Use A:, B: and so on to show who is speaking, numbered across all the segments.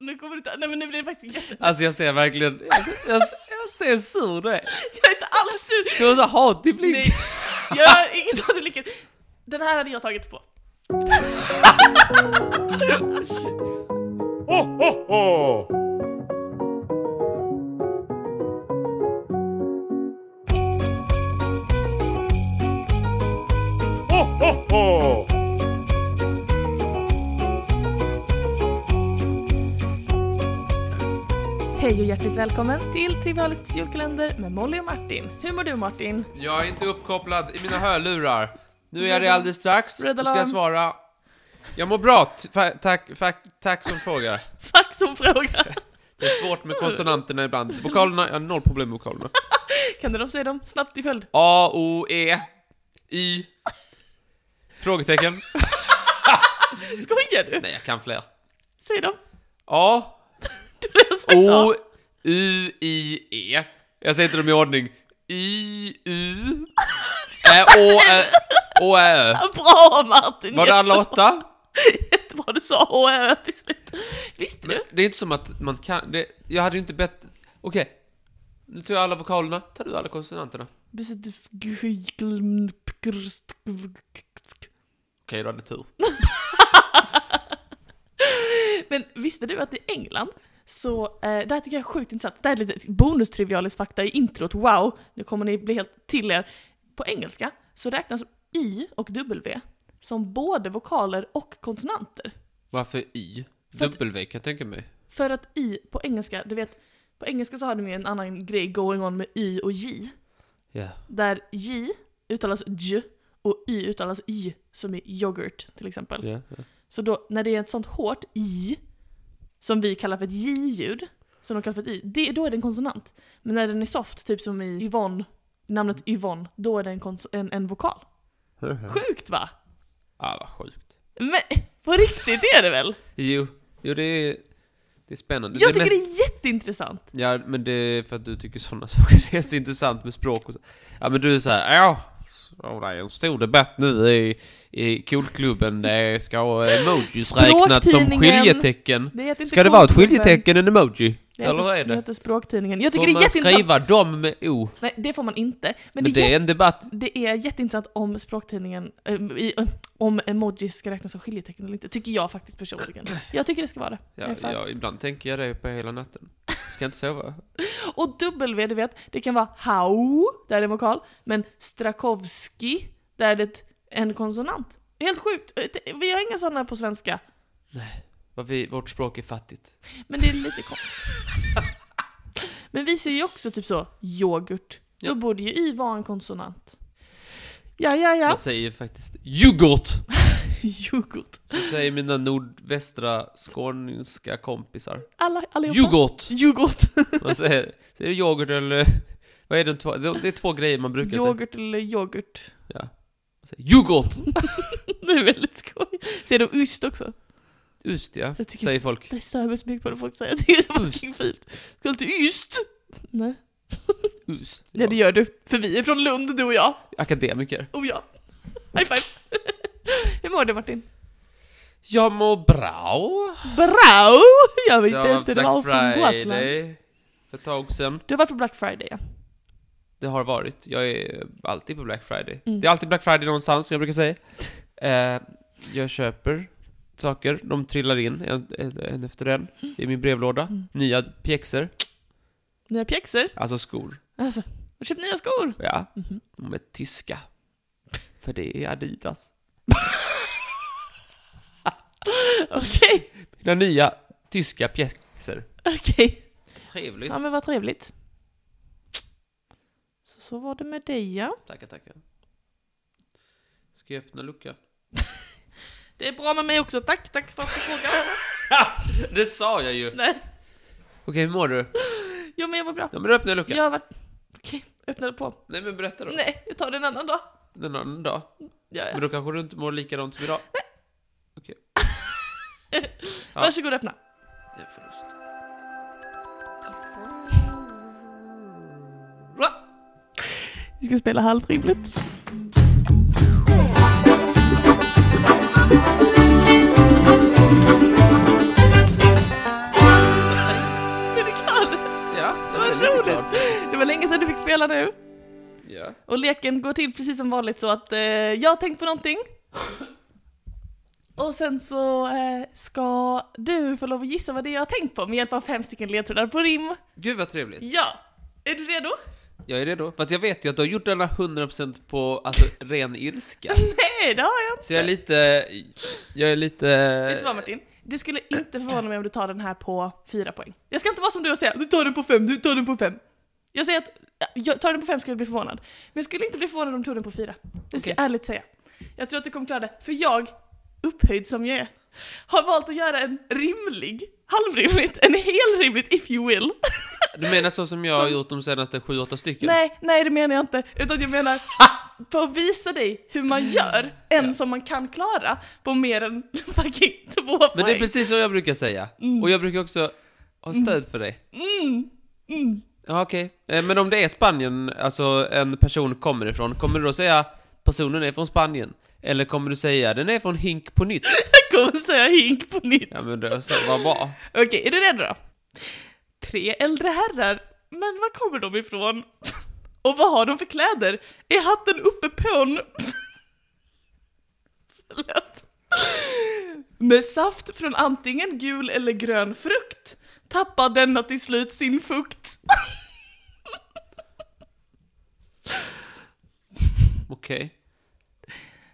A: Nu kommer du ta... Nej men nu blir det faktiskt jätte...
B: Alltså jag ser verkligen, jag, jag, jag ser hur sur du är.
A: Jag är inte alls sur!
B: Du har så hat i blicken.
A: Nej, jag har inget hat i blicken. Den här hade jag tagit på. Hej och hjärtligt välkommen till Trivialists julkalender med Molly och Martin. Hur mår du Martin?
B: Jag är inte uppkopplad i mina hörlurar. Nu är det alldeles strax,
A: Red
B: då ska
A: alarm.
B: jag svara. Jag mår bra, t- fa- tack, fa- tack som frågar.
A: Fuck som frågar.
B: Det är svårt med konsonanterna ibland. Vokalerna, jag har noll problem med vokalerna.
A: Kan du då säga dem snabbt i följd?
B: A, O, E, Y, frågetecken.
A: Skojar du?
B: Nej, jag kan fler.
A: Säg dem.
B: A,
A: Du har redan sagt
B: O,
A: A.
B: U, I, E. Jag säger inte dem i ordning. Y, U, Ä, Å, Ä, Å, Ä, Ö.
A: Bra Martin!
B: Var det alla åtta?
A: Jättebra, du sa Å Ö till slut. Visste
B: Men
A: du?
B: det är inte som att man kan... Det, jag hade ju inte bett... Okej. Nu tar jag alla vokalerna. Tar du alla konsonanterna? Okej, du hade tur.
A: Men visste du att i England så, eh, det här tycker jag är sjukt intressant, det här är lite bonustrivialisk fakta i introt, wow, nu kommer ni bli helt till er. På engelska så räknas i och w som både vokaler och konsonanter.
B: Varför I?
A: För att-
B: W kan jag tänka mig.
A: För att i på engelska, du vet, på engelska så har de ju en annan grej going on med y och j.
B: Ja.
A: Där j uttalas j och y uttalas j som i yoghurt till exempel.
B: ja,
A: Så då, när det är ett sånt hårt i, som vi kallar för ett j-ljud, som de kallar för ett y, det, då är det en konsonant. Men när den är soft, typ som i Yvonne, namnet Yvonne, då är det en, kons- en, en vokal.
B: ja.
A: Sjukt va?
B: Ah, vad sjukt.
A: Men på riktigt är det väl?
B: Jo, jo det är... Det är spännande.
A: Jag
B: det är
A: tycker det är jätteintressant.
B: Ja, men det är för att du tycker sådana saker det är så intressant med språk och så. Ja, men du är så här, ja, så det är en stor debatt nu i, i Coolklubben. Det ska ha emojis räknat som
A: Språktidningen.
B: skiljetecken.
A: Det heter inte
B: Ska det vara ett
A: Konstklubben.
B: skiljetecken, en emoji?
A: Det heter,
B: Eller vad
A: det
B: är det?
A: heter Språktidningen. Jag tycker
B: Får
A: det är
B: man
A: jätteintressant.
B: skriva dem med O?
A: Nej, det får man inte. Men,
B: Men det,
A: det, är... jä-
B: är en debatt.
A: det är jätteintressant om Språktidningen, eh, i, eh, om emojis ska räknas som skiljetecken eller inte, tycker jag faktiskt personligen. Jag tycker det ska vara det. Jag
B: Ja,
A: är för.
B: ja, ibland tänker jag det på hela natten. Ska inte sova.
A: Och W, du vet, det kan vara hau, där är en vokal, men Strakowski, där är det en konsonant. Helt sjukt! Eh, Vi har inga sådana på svenska,
B: Vad vi, vårt språk är fattigt.
A: men det är lite konstigt. Men vi ser ju också typ så, yoghurt. Då
B: Ja.
A: borde ju Y vara en konsonant. Ja, ja, ja.
B: Jag säger faktiskt yoghurt!
A: Yoghurt.
B: Så säger mina nordvästra skånska kompisar.
A: Alla, allihopa.
B: Yoghurt!
A: Yoghurt.
B: Man säger, så är det yoghurt eller... Vad är det? Två, det det är två grejer man brukar säga.
A: Yoghurt eller yoghurt.
B: Man säger. Yoghurt!
A: Det är väldigt skoj. Ser du ost också?
B: Just ja,
A: Jag tycker
B: säger folk.
A: Det stör mig så mycket på när folk säger att det är så
B: Ost.
A: fucking fint. Ska du till ost? Nej.
B: Just.
A: Ja, det gör du. För vi är från Lund, du och jag.
B: Akademiker.
A: Och jag. High five. Hur mår du Martin?
B: Jag mår bra.
A: Bra! Jag visste
B: var
A: inte det
B: Black
A: var från Gotland.
B: Friday för ett tag sedan.
A: Du har varit på Black Friday ja.
B: Det har varit. Jag är alltid på Black Friday.
A: Mm.
B: Det är alltid Black Friday någonstans, som jag brukar säga. Eh, jag köper saker. De trillar in en, en, en efter en i min brevlåda.
A: Mm.
B: Nya pjäxor.
A: Nya pjäxor.
B: Alltså skor.
A: Alltså, har du köpt nya skor?
B: Ja.
A: Mhm.
B: De är tyska. För det är Adidas.
A: Okej,
B: Mina nya tyska pjäxor.
A: okej.
B: Trevligt.
A: Ja men vad trevligt. Så, så var det med dig ja.
B: Tackar, tackar. Ska jag öppna luckan?
A: Det är bra med mig också, tack, tack för att du frågade.
B: det sa jag ju! Okej,
A: Nej,
B: hur mår du?
A: jo men jag var bra.
B: Ja, men då öppnar jag luckan.
A: Jag har varit... Okej, öppnade på.
B: Nej, men berätta då.
A: Nej, jag tar det en annan dag.
B: En annan dag.
A: Ja, ja.
B: Men då kanske du inte mår likadant som idag? Okej. Ja.
A: Varsågod öppna.
B: Det är en förlust.
A: Vi ska spela halvrimligt. länge sedan du fick spela nu.
B: Ja.
A: Och leken går till precis som vanligt så att eh, jag har tänkt på någonting. Och sen så eh, ska du få lov att gissa vad det är jag har tänkt på med hjälp av fem stycken ledtrådar på rim.
B: Gud vad trevligt.
A: Ja! Är du redo?
B: Jag är redo. Fast jag vet ju att du har gjort denna 100% på alltså, ren ilska.
A: Nej, det har jag inte.
B: Så jag är lite... Jag är lite...
A: Vet du vad Martin? Det skulle inte förvåna mig om du tar den här på fyra poäng. Jag ska inte vara som du och säga du tar den på fem, du tar den på fem. Jag säger att ja, jag tar den på fem skulle jag bli förvånad. Men jag skulle inte bli förvånad om du tog den på fyra. Det ska
B: Okej.
A: jag ärligt säga. Jag tror att du kommer klara det, för jag, upphöjd som jag är, har valt att göra en rimlig, halvrimligt, en helrimligt if you will.
B: Du menar så som jag har gjort de senaste 7-8 stycken?
A: Nej, nej det menar jag inte. Utan jag menar på att visa dig hur man gör en
B: Ja.
A: som man kan klara på mer än fucking två poäng.
B: Men det är precis som jag brukar säga. Och jag brukar också ha stöd för dig.
A: mm, mm.
B: Ja, okej. Eh, Men om det är Spanien, alltså en person kommer ifrån, kommer du då säga personen är från Spanien? Eller kommer du säga den är från Hink på nytt?
A: Jag kommer säga hink på nytt.
B: Ja men det så, vad bra.
A: Okej, är du redo då? Tre äldre herrar, men var kommer de ifrån? Och vad har de för kläder? Är hatten uppe pån? Förlåt. Med saft från antingen gul eller grön frukt tappar denna till slut sin fukt.
B: Okej.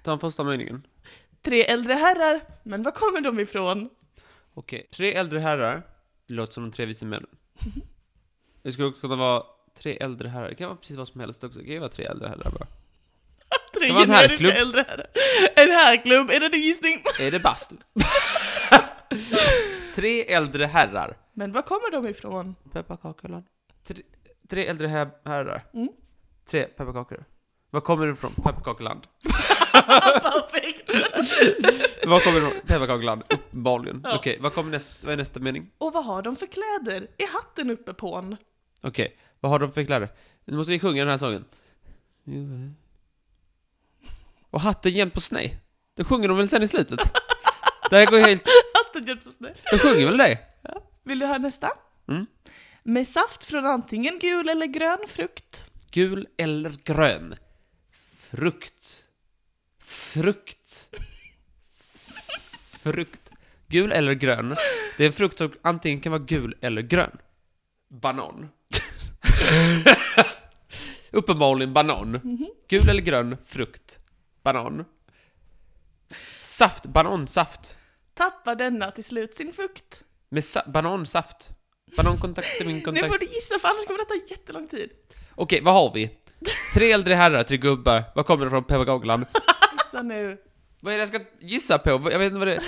B: Ta den första meningen.
A: Tre äldre herrar, men var kommer de ifrån?
B: Okej. Tre äldre herrar. Det låter som de tre vise männen. Det skulle också kunna vara tre äldre herrar. Det kan vara precis vad som helst också. Det kan ju vara tre äldre herrar bara.
A: Tre
B: Det var en
A: generiska
B: herrklubb.
A: äldre herrar. En härklubb, är det din gissning?
B: Är det bastu? tre äldre herrar.
A: Men var kommer de ifrån?
B: Pepparkakeland. Tre, tre äldre her- herrar.
A: Mm.
B: Tre pepparkakor. Var kommer du ifrån? Pepparkakeland.
A: Perfekt!
B: Var kommer du ifrån? Pepparkakeland. Uppenbarligen.
A: Ja.
B: Okej, vad kommer näst, vad är nästa mening?
A: Och vad har de för kläder? Är hatten uppe på en?
B: Okej, vad har de för kläder? Nu måste vi sjunga den här sången. Och hatten jämt på sned. Det sjunger de väl sen i slutet? Det här går ju helt...
A: Hatten hjälper oss nu.
B: De sjunger väl det?
A: Vill du höra nästa?
B: Mm.
A: Med saft från antingen gul eller grön frukt.
B: Gul eller grön? Frukt. Frukt. Frukt. Gul eller grön? Det är en frukt som antingen kan vara gul eller grön. Banan. Uppenbarligen banan. Gul eller grön frukt. Banan. Saft. Banansaft.
A: Tappar denna till slut sin fukt.
B: Med sa- banansaft. Banankontakt är min
A: Nu
B: kontakt.
A: får du gissa för annars kommer det ta jättelång tid.
B: Okej, vad har vi? Tre äldre herrar, tre gubbar. Vad kommer det från Pepparkakeland?
A: Gissa nu.
B: Vad är det jag ska gissa på? Jag vet inte vad det är.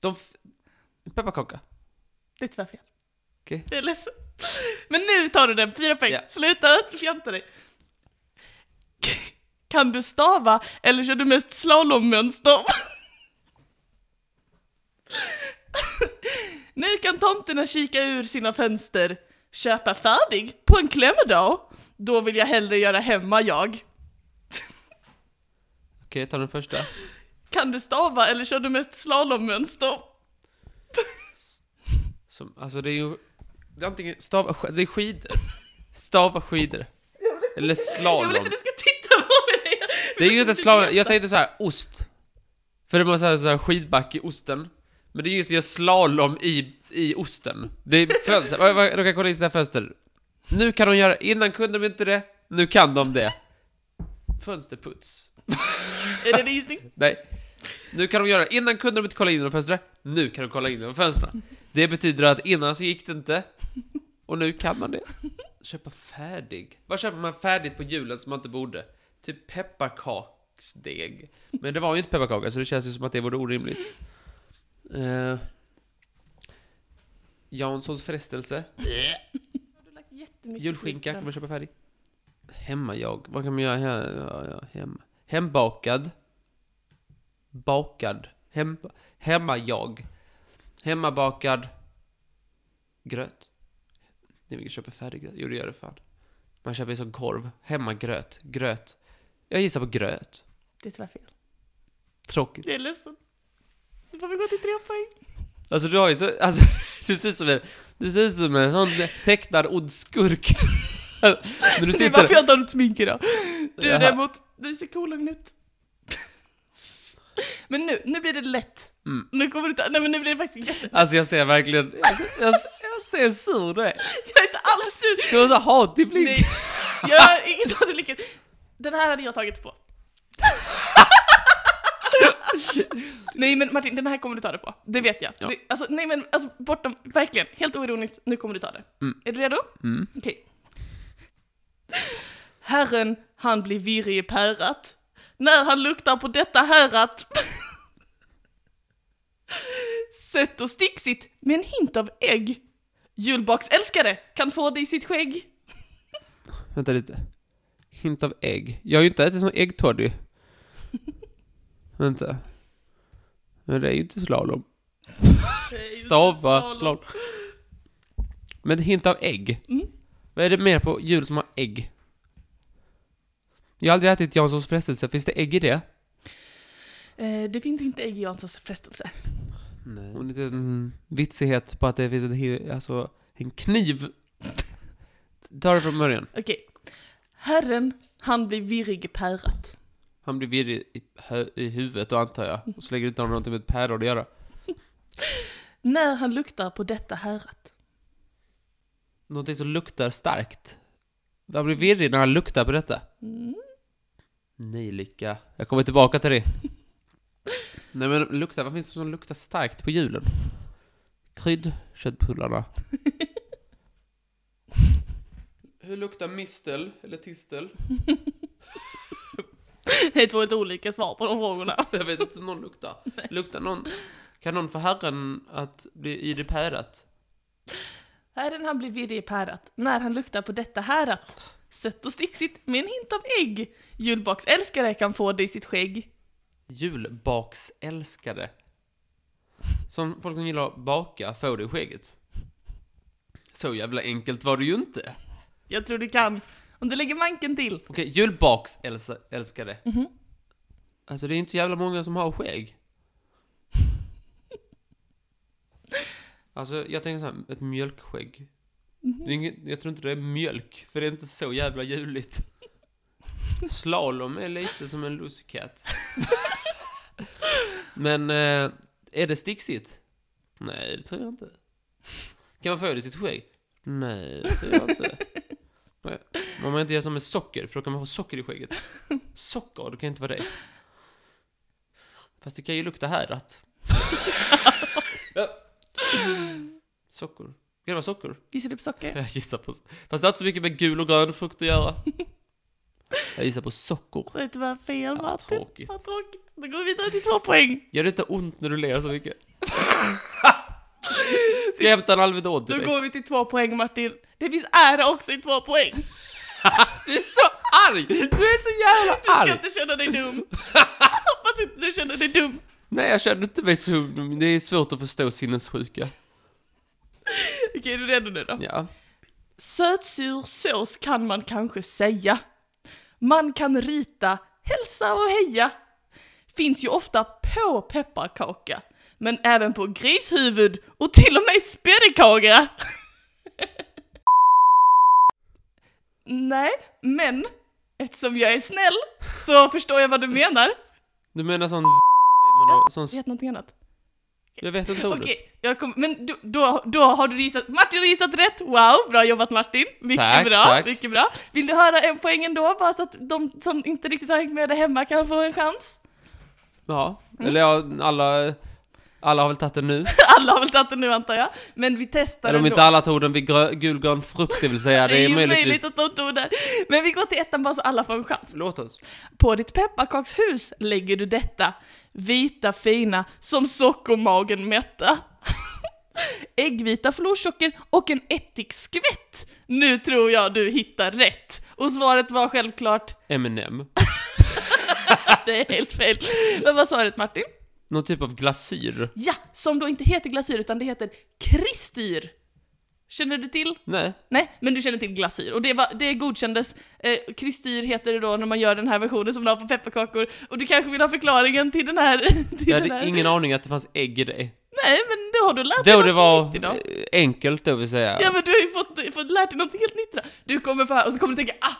B: De... f- Pepparkaka.
A: Det är tyvärr fel.
B: Okej.
A: Det är ledsen. Men nu tar du den, fyra poäng.
B: Ja.
A: Sluta fjanta dig. Kan du stava eller kör du mest slalommönster? nu kan tomterna kika ur sina fönster, köpa färdig på en klämmedag. Då vill jag hellre göra hemma jag.
B: Okej, ta den första.
A: Kan du stava eller kör du mest slalommönster?
B: Som, alltså det är ju... Det är antingen stava... sk- Det är skidor. Stava skidor. Eller
A: Jag vill
B: slalom.
A: inte du ska titta på mig!
B: Det är ju inte slalom. Jag tänkte så här, ost. För det var så här, så här skidback i osten. Men det är ju så jag slalom i, i osten. Det är fönster. Vad- vad- De kan kolla in sina fönster. Nu kan de göra... Innan kunde de inte det. Nu kan de det. Fönsterputs.
A: Är det din gissning?
B: Nej. Nu kan de göra det. Innan kunde de inte kolla in genom fönstret. Nu kan de kolla in genom fönstren. Det betyder att innan så gick det inte. Och nu kan man det. Köpa färdig. Vad köper man färdigt på julen som man inte borde? Typ pepparkaksdeg. Men det var ju inte pepparkaka så det känns ju som att det vore orimligt. Eh, Janssons frestelse.
A: Har du lagt jättemycket
B: Julskinka
A: tid
B: kan
A: på
B: man köpa färdig. Hemma jag. Vad kan man göra här? Ja, ja, hem. Hembakad. Bakad. Hem, hemma jag. Hemmabakad. Gröt. Nej, vi köper färdig gröt. Jo, det gör det fan. Man köper ju som korv. Hemmagröt. Gröt. Jag gissar på gröt.
A: den? Det är tyvärr fel.
B: Tråkigt.
A: Jag är ledsen. Nu får vi gå till tre poäng.
B: Alltså du har ju så, alltså, du ser ut som en, du ser ut som en sån tecknad ond skurk. När du
A: Det är
B: sitter...
A: varför jag inte har något smink idag. Du
B: Jaha.
A: däremot, du ser kolugn ut. Men nu, nu blir det lätt.
B: Mm.
A: Nu kommer du ta, nej men nu blir det faktiskt jätte...
B: Alltså jag ser verkligen... Jag, ser- jag, ser- jag ser hur sur du är.
A: Jag är inte alls sur!
B: Du har så hat i blicken.
A: Nej, jag har inget av det lyckat. Den här hade jag tagit på. nej men Martin, den här kommer du ta det på. Det vet jag.
B: Ja.
A: Det, alltså, nej men alltså, bortom, verkligen, helt oironiskt, nu kommer du ta det.
B: Mm.
A: Är du redo?
B: Mm.
A: Okej. Herren, han blir virrig i pärat. När han luktar på detta härat. Sött och sticksigt med en hint av ägg. Julbaksälskare kan få det i sitt skägg.
B: Vänta lite. Hint av ägg. Jag har ju inte ätit sån äggtoddy. Vänta. Men det är ju inte slalom. Stava slalom. Men hint av ägg.
A: Mm.
B: Vad är det mer på jul som har ägg? Jag har aldrig ätit Janssons frestelse. Finns det ägg i det?
A: Eh, det finns inte ägg i Janssons frestelse.
B: Nej. Och en liten vitsighet på att det finns en, hi- alltså, en kniv. Ta det från början.
A: Okej. Herren, han blir virrig i pärat.
B: Han blir virrig i, hö- i huvudet då antar jag. Och så länge det inte har någonting med ett päron att göra.
A: När han luktar på detta härat.
B: Någonting som luktar starkt. Han blir virrig när han luktar på detta.
A: Mm.
B: Nejlika. Jag kommer tillbaka till det. Nej men lukta, vad finns det som luktar starkt på julen? Krydd, köttbullarna. Hur luktar mistel eller tistel?
A: Det är två helt olika svar på de frågorna.
B: Jag vet inte hur någon luktar. Luktar någon... Kan någon få herren att bli i det pärat?
A: Herren han blir virrig i pärat när han luktar på detta härat. Sött och sticksigt med en hint av ägg. Julbaksälskare kan få det i sitt skägg.
B: Julbaksälskare. Som folk som gillar att baka får det i skägget. Så jävla enkelt var det ju inte.
A: Jag tror du kan. Om du lägger manken till.
B: Okej, julbaksälskare.
A: Mhm.
B: Alltså det är inte jävla många som har skägg. Alltså jag tänker så här, ett mjölkskägg. Det är inget, jag tror inte det är mjölk, för det är inte så jävla juligt. Slalom är lite som en lussekatt. Men eh, är det sticksigt? Nej, det tror jag inte. Kan man få det i sitt skägg? Nej, det tror jag inte. Nej, Om man inte gör som med socker, för då kan man få socker i skägget. Socker, det kan inte vara det. Fast det kan ju lukta härat. socker. Kan det vara socker?
A: Gissar du på socker?
B: Jag gissar på... Fast det har inte så mycket med gul och grön frukt att göra. Jag gissar på socker.
A: Det är tyvärr fel
B: Ja,
A: Martin.
B: tråkigt.
A: Vad tråkigt. Då går vi vidare till två poäng.
B: Gör det inte ont när du ler så mycket? Ska jag hämta en Alvedon till
A: Då
B: dig?
A: går vi till två poäng Martin. Det finns ära också i två poäng.
B: Du är så arg! Du är så
A: Du
B: jävla
A: ska
B: arg!
A: inte känna dig dum. Hoppas inte du känner dig dum.
B: Nej, jag känner inte mig så... Det är svårt att förstå sinnessjuka.
A: Okej, är du redo nu då?
B: Ja.
A: Sötsur sås kan man kanske säga. Man kan rita hälsa och heja. Finns ju ofta på pepparkaka. Men även på grishuvud och till och med späddkaka. Nej, men eftersom jag är snäll så förstår jag vad du menar.
B: Du menar sån man har, sån...
A: Jag vet någonting annat.
B: Jag vet inte ordet.
A: Okej, jag kom, men då, då, då har du gissat, Martin har gissat rätt! Wow, bra jobbat Martin! Mycket
B: Tack,
A: bra,
B: tack.
A: mycket bra! Vill du höra en poäng ändå, bara så att de som inte riktigt har hängt med där hemma kan få en chans?
B: Ja.
A: Mm.
B: Eller ja, alla... Alla har väl tagit den nu?
A: Alla har väl tagit den nu antar jag, men vi testar
B: Eller om
A: ändå.
B: inte alla tog den vid grö- gul, grön frukt, det vill säga. Det är
A: ju
B: möjligtvis...
A: möjligt att de tog den. Men vi går till ettan bara så alla får en chans.
B: Låt oss.
A: På ditt pepparkakshus lägger du detta, vita fina som sockermagen mätta. Äggvita florsocker och en ättikskvätt. Nu tror jag du hittar rätt. Och svaret var självklart,
B: M&M.
A: det är helt fel. Vad var svaret Martin?
B: Någon typ av glasyr?
A: Ja, som då inte heter glasyr utan det heter kristyr. Känner du till?
B: Nej.
A: Nej, men du känner till glasyr. Och det, var, det godkändes. Eh, kristyr heter det då när man gör den här versionen som du har på pepparkakor. Och du kanske vill ha förklaringen till den här... Till
B: Jag
A: den här.
B: hade ingen aning att det fanns ägg i dig.
A: Nej, men då har du lärt dig
B: Då
A: något
B: det var
A: nytt idag.
B: eh, enkelt, då vill säga.
A: Ja men du har ju fått, fått lärt dig något helt nytt idag. Du kommer för här och så kommer du tänka ah!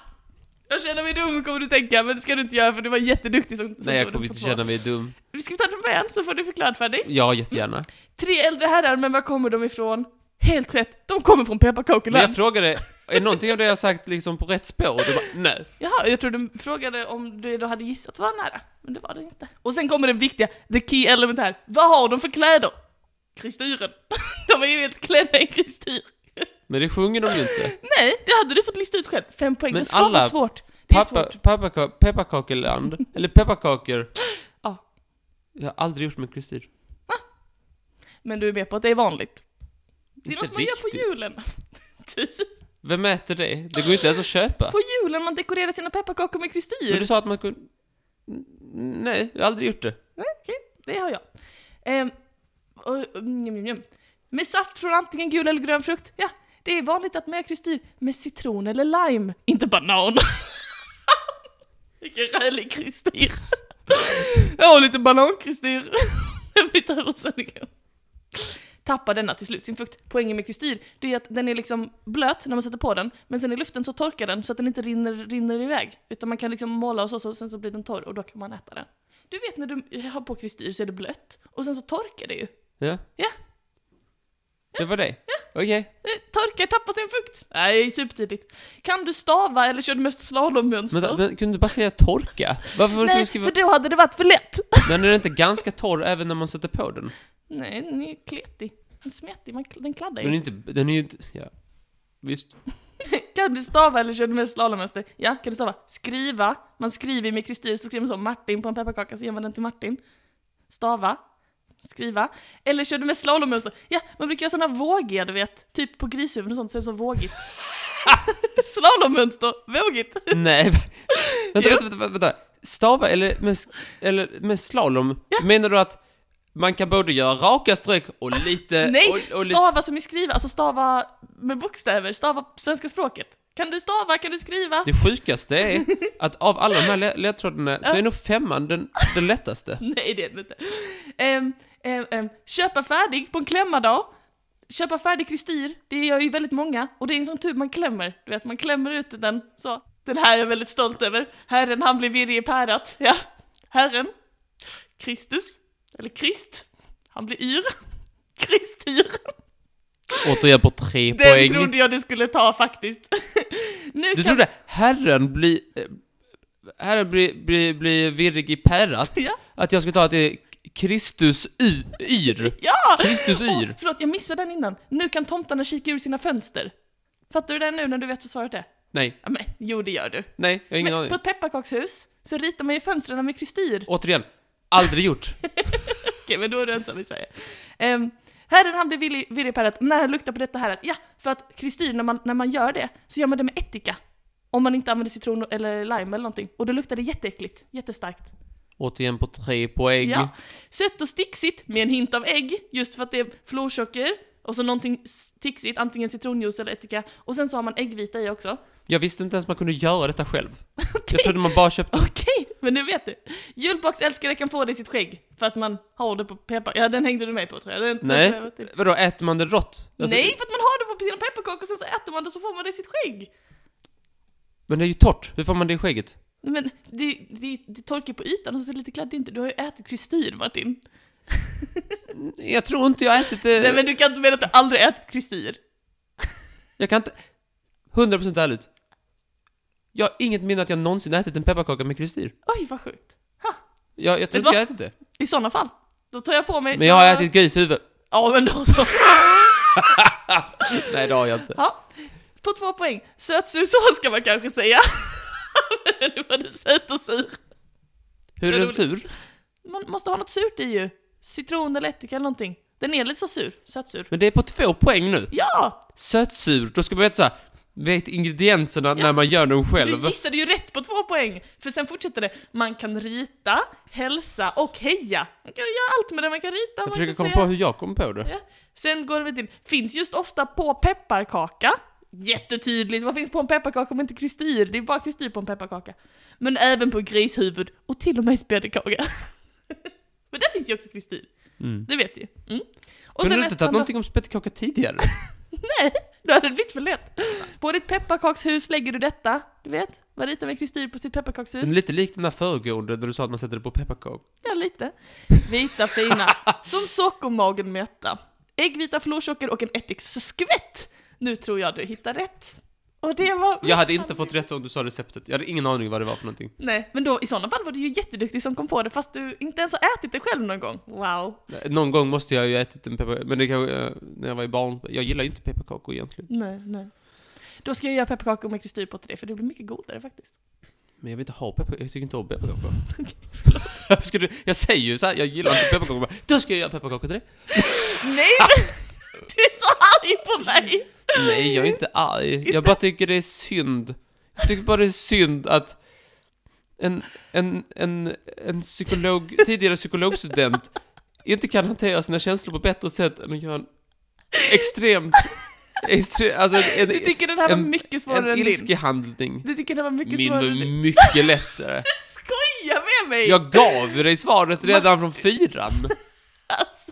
A: Jag känner mig dum kommer du tänka, men det ska du inte göra för du var jätteduktig som, som
B: Nej, jag
A: tog
B: kommer
A: det på
B: inte
A: två.
B: känna mig dum.
A: Vi ska ta det från början så får du förklarat för dig.
B: Ja, jättegärna.
A: Tre äldre herrar, men var kommer de ifrån? Helt rätt, de kommer från
B: Men
A: pepparkakeland.
B: jag frågade, är någonting av det jag sagt liksom på rätt spår? Och Du bara, nej.
A: Jaha, jag trodde du frågade om du då hade gissat vad nära, men det var det inte. Och sen kommer det viktiga, the key element här. Vad har de för kläder? Kristyren. De är ju helt klädda i kristyr.
B: Men det sjunger de ju inte.
A: Nej, det hade du fått lista ut själv. Fem poäng,
B: Men
A: det ska
B: alla-
A: vara svårt. Det är
B: Pappa,
A: svårt.
B: pappaka, pepparkakeland, eller pepparkakor.
A: Ja.
B: Jag har aldrig gjort med kristyr.
A: Men du är med på att det är vanligt. Det är
B: Inte
A: något man gör på
B: riktigt.
A: julen. Du,
B: Vem äter det? Det går ju inte ens att köpa.
A: på julen man dekorerar sina pepparkakor med
B: Men du
A: kristyr.
B: sa att man kunde... N- Nej, jag har aldrig gjort det.
A: Nej, okej, det har jag. Ehm, och, mm, mm, mm. Med saft från antingen gul eller grön frukt. Ja, det är vanligt att man gör kristyr med citron eller lime. Inte banan. Vilken rälig kristyr. Jag har lite banankristyr. Den flyttar över sen igår. Tappar denna till slut sin fukt. Poängen med kristyr, det är att den är liksom blöt när man sätter på den, men sen i luften så torkar den så att den inte rinner, rinner iväg. Utan man kan liksom måla och så, så, sen så blir den torr och då kan man äta den. Du vet när du har på kristyr så är det blött, och sen så torkar det ju.
B: Ja.
A: Ja.
B: Det var det? Okej.
A: Eh, Torkar, tappar sin fukt. Nej, supertidigt. Kan du stava eller kör du mest slalommönster?
B: Men, men kunde du bara säga torka? Varför var du tvungen
A: Nej,
B: att skriva...
A: för då hade det varit för lätt.
B: Men är den inte ganska torr även när man sätter på den?
A: Nej, den är kletig. Den är smetig, man, den kladdar
B: Den är
A: ju.
B: inte... Den är ju inte... Ja. Visst.
A: Kan du stava eller kör du mest slalommönster? Ja, kan du stava? Skriva. Man skriver med kristyr, så skriver man så Martin på en pepparkaka, så ger man den till Martin. Stava. Skriva. Eller kör du med slalommönster? Ja, man brukar göra sådana vågiga, du vet. Typ på grishuvuden och sånt, så är det så vågigt. slalommönster, vågigt.
B: Nej. va- vänta,
A: Jo.
B: vänta, vänta, vänta. Stava eller med, eller med slalom? Menar du att man kan både göra raka streck och lite...
A: Nej,
B: Eh, och, och lite...
A: stava som i skriva, alltså stava med bokstäver, stava svenska språket. Kan du stava, kan du skriva?
B: Det sjukaste är att av alla de här le- ledtrådarna så
A: Ja.
B: är nog femman den, den lättaste.
A: Nej, det är det inte. Ehm, ehm, ehm, köpa färdig på en klämmardag. Köpa färdig kristyr, det gör ju väldigt många. Och det är en sån tub man klämmer, du vet, man klämmer ut den så. Den här är jag väldigt stolt över. Herren, han blev virrig i pärat. Ja, Herren. Kristus, eller Krist. Han blir yr. Kristyr.
B: Återigen på tre
A: Den
B: poäng.
A: trodde jag du skulle ta faktiskt. nu
B: Du trodde herren blir... eh, Herren blir bli, bli virrig i pärat?
A: Ja.
B: Att jag skulle ta att det är Kristus y- yr?
A: Ja!
B: Kristus yr?
A: Åh, förlåt, jag missade den innan. Nu kan tomtarna kika ur sina fönster. Fattar du det nu när du vet vad svaret är?
B: Nej,
A: Ja, men, jo, det gör du.
B: nej, jag har ingen
A: Men,
B: aning.
A: på ett pepparkakshus så ritar man ju fönstren med kristyr.
B: Återigen, aldrig gjort.
A: Okej, men då är du ensam i Sverige. Um, herren han blir villig, virrig på att när han luktar på detta härat, ja, för att kristyr, när man, när man gör det, så gör man det med ättika. Om man inte använder citron eller lime eller någonting. Och då luktar det jätteäckligt, jättestarkt.
B: Återigen på tre poäng.
A: Ja. Sött och sticksigt med en hint av ägg, just för att det är florsocker och så någonting sticksigt, antingen citronjuice eller ättika. Och sen så har man äggvita i också.
B: Jag visste inte ens man kunde göra detta själv. Jag trodde man bara köpte...
A: Okej, men nu vet du. Julbaksälskare kan få det i sitt skägg, för att man har det på peppar... Ja, den hängde du med på tror jag. Den,
B: Nej.
A: Den, den,
B: Vadå, äter man det rått? Alltså,
A: Nej, för att man har det på sina pepparkakor och sen så äter man det och så får man det i sitt skägg.
B: Men det är ju torrt. Hur får man det i skägget?
A: Men det, det, det torkar på ytan och så ser det lite kladdigt inte. Du har ju ätit kristyr, Martin.
B: Jag tror inte jag har ätit det.
A: Nej, men du kan inte mena att du aldrig ätit kristyr.
B: Jag kan inte... 100% ärligt. Jag har inget minne att jag någonsin ätit en pepparkaka med kristyr.
A: Oj, vad sjukt.
B: Jag, jag tror
A: Vet
B: inte
A: vad?
B: jag har ätit det.
A: I sådana fall, då tar jag på mig...
B: Men jag har ätit grishuvud.
A: Ja, men då så.
B: Nej, det har jag inte.
A: Ja. På två poäng. Söt, sur, så ska man kanske säga. Men nu var det söt och sur.
B: Hur är
A: Det är
B: den sur?
A: Man måste ha något surt i ju. Citron eller ättika eller någonting. Den är lite så sur. Sötsur.
B: Men det är på två poäng nu.
A: Ja!
B: Sötsur. Då ska man veta så här. Vet ingredienserna när man gör dem själv.
A: Du gissade ju rätt på två poäng! För sen fortsätter det, man kan rita, hälsa och heja. Man kan göra allt med det, man kan rita,
B: Jag
A: man
B: försöker
A: kan
B: komma
A: säga...
B: på hur jag kom på det.
A: Ja. Sen går det till, finns just ofta på pepparkaka. Jättetydligt, vad finns på en pepparkaka om inte kristyr? Det är bara kristyr på en pepparkaka. Men även på grishuvud och till och med i speddekaka. Men där finns ju också kristyr.
B: Mm.
A: Det vet du ju. Mm. Och
B: Kunde
A: sen
B: du inte
A: ett
B: tagit
A: andra-
B: någonting om spettekaka tidigare?
A: Då hade det blivit för lätt. På ditt pepparkakshus lägger du detta. Du vet, man ritar med kristyr på sitt
B: Den är
A: pepparkakshus.
B: lite lik den där föregående där du sa att man sätter det på pepparkakor.
A: Ja, lite. Vita fina. Som sockermagen mätta. Äggvita, florsocker och en ättiksskvätt. Nu tror jag du hittar rätt. Och det var...
B: Jag hade inte fått rätt om du sa receptet. Jag hade ingen aning vad det var för någonting.
A: Nej, men då i sådana fall var du ju jätteduktig som kom på det fast du inte ens har ätit det själv någon gång. Wow.
B: Någon gång måste jag ju ha ätit en pepparkaka, men det kanske, eh, när jag var i barn, jag gillar ju inte pepparkakor egentligen.
A: Nej, nej. Då ska jag göra pepparkakor med kristyr på till dig för det blir mycket godare faktiskt.
B: Men jag vill inte ha pepparkakor, jag tycker inte om pepparkakor. Varför ska du, jag säger ju såhär, jag gillar inte pepparkakor, bara, då ska jag göra pepparkakor till dig.
A: Nej! men- Du är så arg på mig!
B: Nej, jag är inte arg. Jag bara tycker det är synd. Jag tycker bara det är synd att en, en, en, en psykolog, tidigare psykologstudent inte kan hantera sina känslor på bättre sätt än att göra en extremt, extre, alltså en,
A: Du tycker den här var
B: en-
A: mycket
B: en,
A: svårare
B: en
A: än din.
B: ilskehandling.
A: Du tycker den var mycket
B: Min var
A: svårare än din.
B: mycket lättare.
A: Skoja med mig!
B: Jag gav ju dig svaret redan från fyran.
A: Alltså.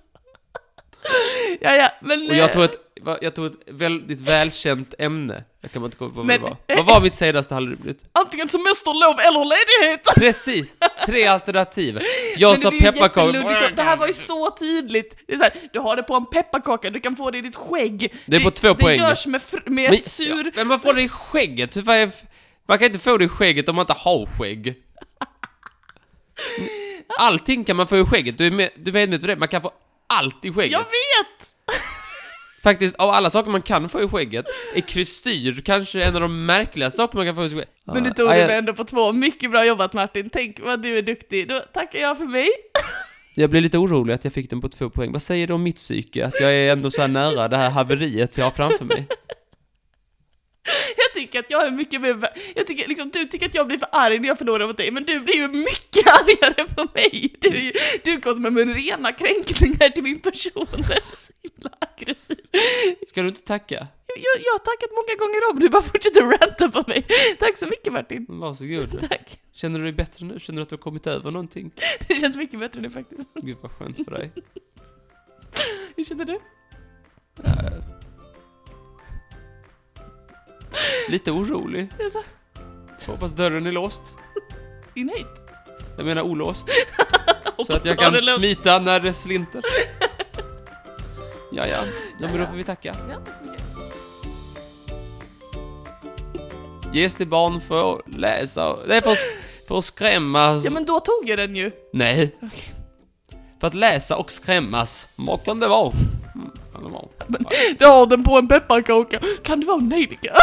A: Ja, ja, men...
B: Och jag
A: eh,
B: tog ett, va- jag tog ett väldigt välkänt ämne. Jag kan inte komma på vad
A: Men-
B: det var. Vad var mitt senaste halvroligt?
A: Antingen semesterlov eller ledighet!
B: Precis! Tre alternativ. Jag
A: Men
B: sa
A: det blir ju
B: pepparkakor.
A: jätteluddigt och Det här var ju så tydligt. Det är så här, du har det på en pepparkaka, du kan få det i ditt skägg.
B: Det är på två
A: det
B: poäng.
A: Det görs med, fr- med
B: Men-
A: sur...
B: ja, Men man får det i skägget. Hur fan är f- Man kan inte få det i skägget om man inte har skägg. Allting kan man få i skägget. Du är, med, du är medveten om det. Man kan få allt i skägget.
A: Jag vet!
B: Faktiskt, av alla saker man kan få i skägget, är kristyr kanske en av de märkligaste saker man kan få i skägget.
A: Men nu tog
B: Ja,
A: du
B: jag-
A: mig ändå på två. Mycket bra jobbat Martin. Tänk vad du är duktig. Då tackar jag för mig.
B: Jag blev lite orolig att jag fick den på två poäng. Vad säger det om mitt psyke? Att jag är ändå så här nära det här haveriet jag har framför mig.
A: Jag tycker att jag är mycket mer... vä- Jag tycker, liksom, du tycker att jag blir för arg när jag förlorar mot dig, men du blir ju mycket argare på mig. Du, är ju- du kommer med rena kränkningar till min person. Jag är så himla aggressiv.
B: Ska du inte tacka?
A: Jag, jag, jag har tackat många gånger om, du bara fortsätter ranta på mig. Tack så mycket Martin.
B: Varsågod.
A: Tack.
B: Känner du dig bättre nu? Känner du att du har kommit över någonting?
A: Det känns mycket bättre nu faktiskt.
B: Gud vad skönt för dig.
A: Hur känner du?
B: Äh. Lite orolig.
A: Jaså?
B: Hoppas dörren är låst.
A: Är du nöjd?
B: Jag menar olåst.
A: Hoppas
B: Så att
A: du har
B: jag kan
A: det lugnt.
B: smita när det slinter. Ja, ja. Ja, men då får vi tacka.
A: Ja, tack så mycket.
B: Ges till barn för att läsa. Nej, för att, för att skrämma.
A: Ja men då tog jag den ju.
B: Nej. För att läsa och skrämmas. Makan det var. Mm, kan det vara.
A: Du har den på en pepparkaka. Kan det vara nejlika?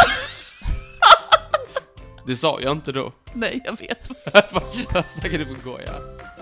B: Det sa jag inte då.
A: Nej, jag vet.
B: Jag snackade på goja.